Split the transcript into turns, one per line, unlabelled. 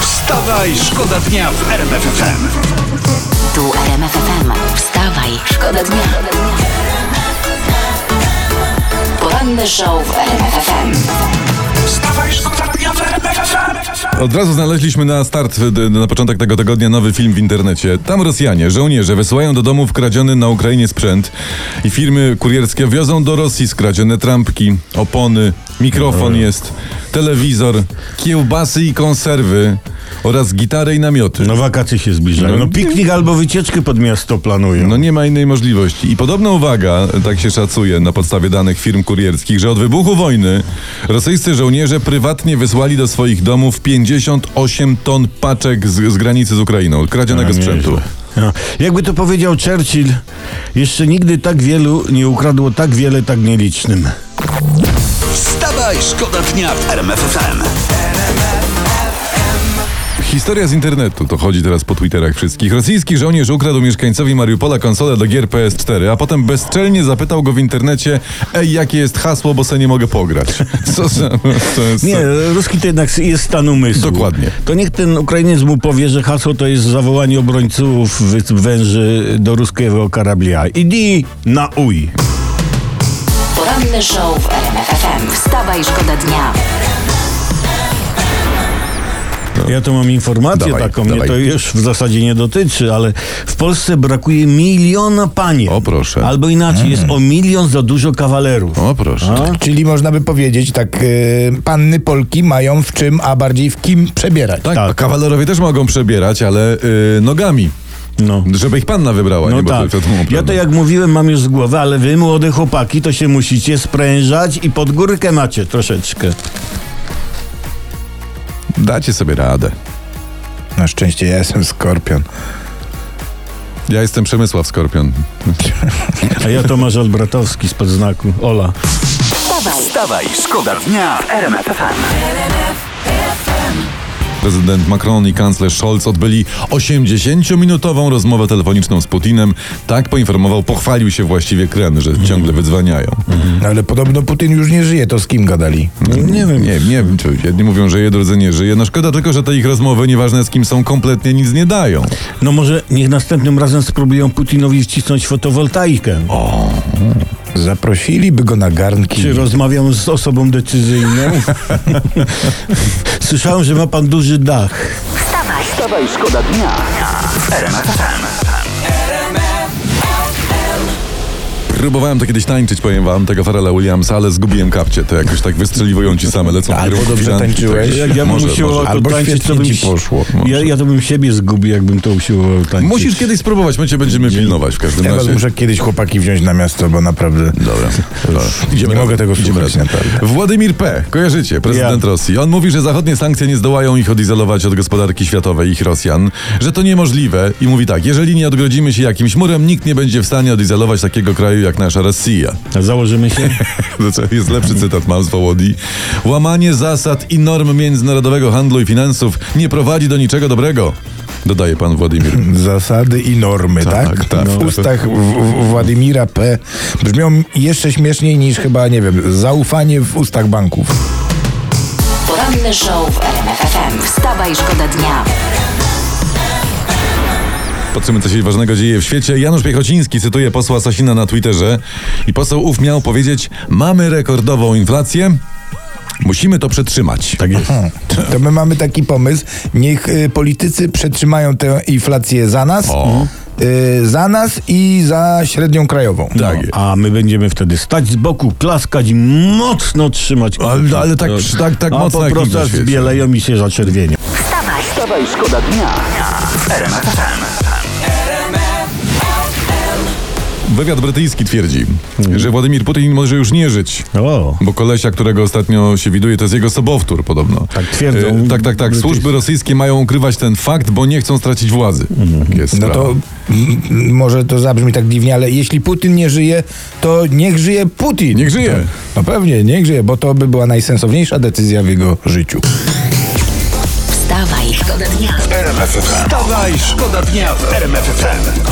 Wstawaj, szkoda dnia w RMFFM.
Tu RMF FM. Wstawaj, szkoda dnia. Poranny show w RMF FM.
Wstawaj, szkoda dnia w RMFFM.
Od razu znaleźliśmy na start, y, d- na początek tego tygodnia, nowy film w internecie. Tam Rosjanie, żołnierze wysyłają do domów kradziony na Ukrainie sprzęt i firmy kurierskie wiozą do Rosji skradzione trampki, opony, mikrofon jest, telewizor, kiełbasy i konserwy oraz gitary i namioty.
No wakacje się zbliżają. No piknik albo wycieczkę pod miasto planują.
No nie ma innej możliwości. I podobna uwaga, tak się szacuje na podstawie danych firm kurierskich, że od wybuchu wojny rosyjscy żołnierze prywatnie wysłali do swoich domów 58 ton paczek z, z granicy z Ukrainą, kradzionego
No,
sprzętu.
nieźle. No. Jakby to powiedział Churchill, jeszcze nigdy tak wielu nie ukradło tak wiele tak nielicznym.
Wstawaj, szkoda dnia w RMFFM.
Historia z internetu, to chodzi teraz po Twitterach wszystkich. Rosyjski żołnierz ukradł mieszkańcowi Mariupola konsolę do gier PS4, a potem bezczelnie zapytał go w internecie, ej, jakie jest hasło, bo se nie mogę pograć. Co za... Co jest,
Nie, ruski to jednak jest stan umysłu.
Dokładnie.
To niech ten Ukrainiec mu powie, że hasło to jest zawołanie obrońców wy- węży do ruskiego karablia. Idi na uj.
Poranny show w RMF FM. Wstawaj, szkoda dnia.
Ja tu mam informację
Dawaj,
taką,
dawaj.
mnie to już w zasadzie nie dotyczy, ale w Polsce brakuje miliona panien.
O, proszę. Mm.
Albo inaczej, jest o milion za dużo kawalerów.
O proszę.
No.
Czyli można by powiedzieć, tak, e, panny Polki mają w czym, a bardziej w kim przebierać.
Tak,
Tak.
a kawalerowie też mogą przebierać, ale y, nogami.
No.
Żeby ich panna wybrała,
No
nie? Bo
tak.
to, to, to,
Ja to jak mówiłem, mam już z głowy, ale wy, młode chłopaki, to się musicie sprężać i pod górkę macie troszeczkę.
Dacie sobie radę.
Na szczęście ja jestem skorpion.
Ja jestem Przemysław Skorpion.
A ja Tomasz Albratowski z podznaku. Ola.
Wstawaj,
Wstawaj, szkoda dnia w RMFFM.
Prezydent Macron i kanclerz Scholz odbyli 80-minutową rozmowę telefoniczną z Putinem. Tak poinformował, pochwalił się właściwie Kreml, że
Mhm.
ciągle wydzwaniają.
No, ale podobno Putin już nie żyje, to z kim gadali?
Nie wiem. Nie, nie wiem. czy Jedni mówią, że je, drudzy nie żyje. No szkoda tylko, że te ich rozmowy, nieważne z kim są, kompletnie nic nie dają.
No może niech następnym razem spróbują Putinowi wcisnąć fotowoltaikę.
Zaprosiliby go na garnki.
Czy rozmawiam z osobą decyzyjną? Słyszałem, że ma pan duży dach.
wstawaj.
Wstawaj, szkoda dnia w RMFFM.
Próbowałem to kiedyś tańczyć, powiem wam, tego Farela Williamsa, ale zgubiłem kapcie. To jakoś tak wystrzeliwują ci same, lecą
Albo
kierunki,
dobrze
krzanki,
tańczyłeś.
także-
Jak ja bym
Może,
usiłował
może.
to
Albo
tańczyć, to
świetnie
bym...
ci
si-
poszło,
Ja,
może.
ja to bym siebie zgubił, jakbym to usiłował tańczyć.
Musisz kiedyś spróbować, my cię będziemy pilnować w każdym
Ja was
razie.
muszę kiedyś chłopaki wziąć na miasto, bo naprawdę
Dobra.
nie
Tak. Idziemy
mogę
razem.
tego
Idziemy
słuchać
razem.
naprawdę.
Władimir P., kojarzycie, prezydent
Ja.
Rosji. On mówi, że zachodnie sankcje nie zdołają ich odizolować od gospodarki światowej, ich Rosjan, że to niemożliwe i mówi tak, jeżeli nie odgrodzimy się jakimś murem, nikt nie będzie w stanie odizolować takiego kraju jak nasza Rosja.
Założymy się?
To co, jest lepszy cytat, mam z Wołodii. Łamanie zasad i norm międzynarodowego handlu i finansów nie prowadzi do niczego dobrego, dodaje pan Władimir.
zasady i normy, tak?
Tak, tak.
W ustach w, w, Władimira P. brzmią jeszcze śmieszniej niż chyba, nie wiem, zaufanie w ustach banków.
Poranny show w RMF FM. Wstawaj, szkoda dnia.
Patrzymy, co się ważnego dzieje w świecie. Janusz Piechociński cytuje posła Sasina na Twitterze i poseł ów miał powiedzieć mamy rekordową inflację, musimy to przetrzymać. Tak jest.
Hmm. To my mamy taki pomysł, niech y, politycy przetrzymają tę inflację za nas,
O.
y, za nas i za średnią krajową.
Tak.
No, A my będziemy wtedy stać z boku, klaskać i mocno trzymać. No.
Ale, ale tak, tak, tak
A
mocno
po
jak nigdy
prostu
w
aż
świecie.
zbieleją mi się zaczerwienią.
Wstawaj,
Wstawaj, szkoda dnia w RMFFM.
Wywiad brytyjski twierdzi, że Władimir Putin może już nie żyć.
O.
Bo kolesia, którego ostatnio się widuje, to jest jego sobowtór podobno.
Tak twierdzą.
E, tak, tak, tak. Służby rosyjskie mają ukrywać ten fakt, bo nie chcą stracić władzy.
Mhm.
Tak Jest
No to
sprawa.
m, m, może to zabrzmi tak dziwnie, ale jeśli Putin nie żyje, to niech żyje Putin.
Niech żyje.
No, no pewnie, niech żyje, bo to by była najsensowniejsza decyzja w jego życiu.
wstawaj, szkoda dnia.
Wstawaj, szkoda dnia w RMFFM.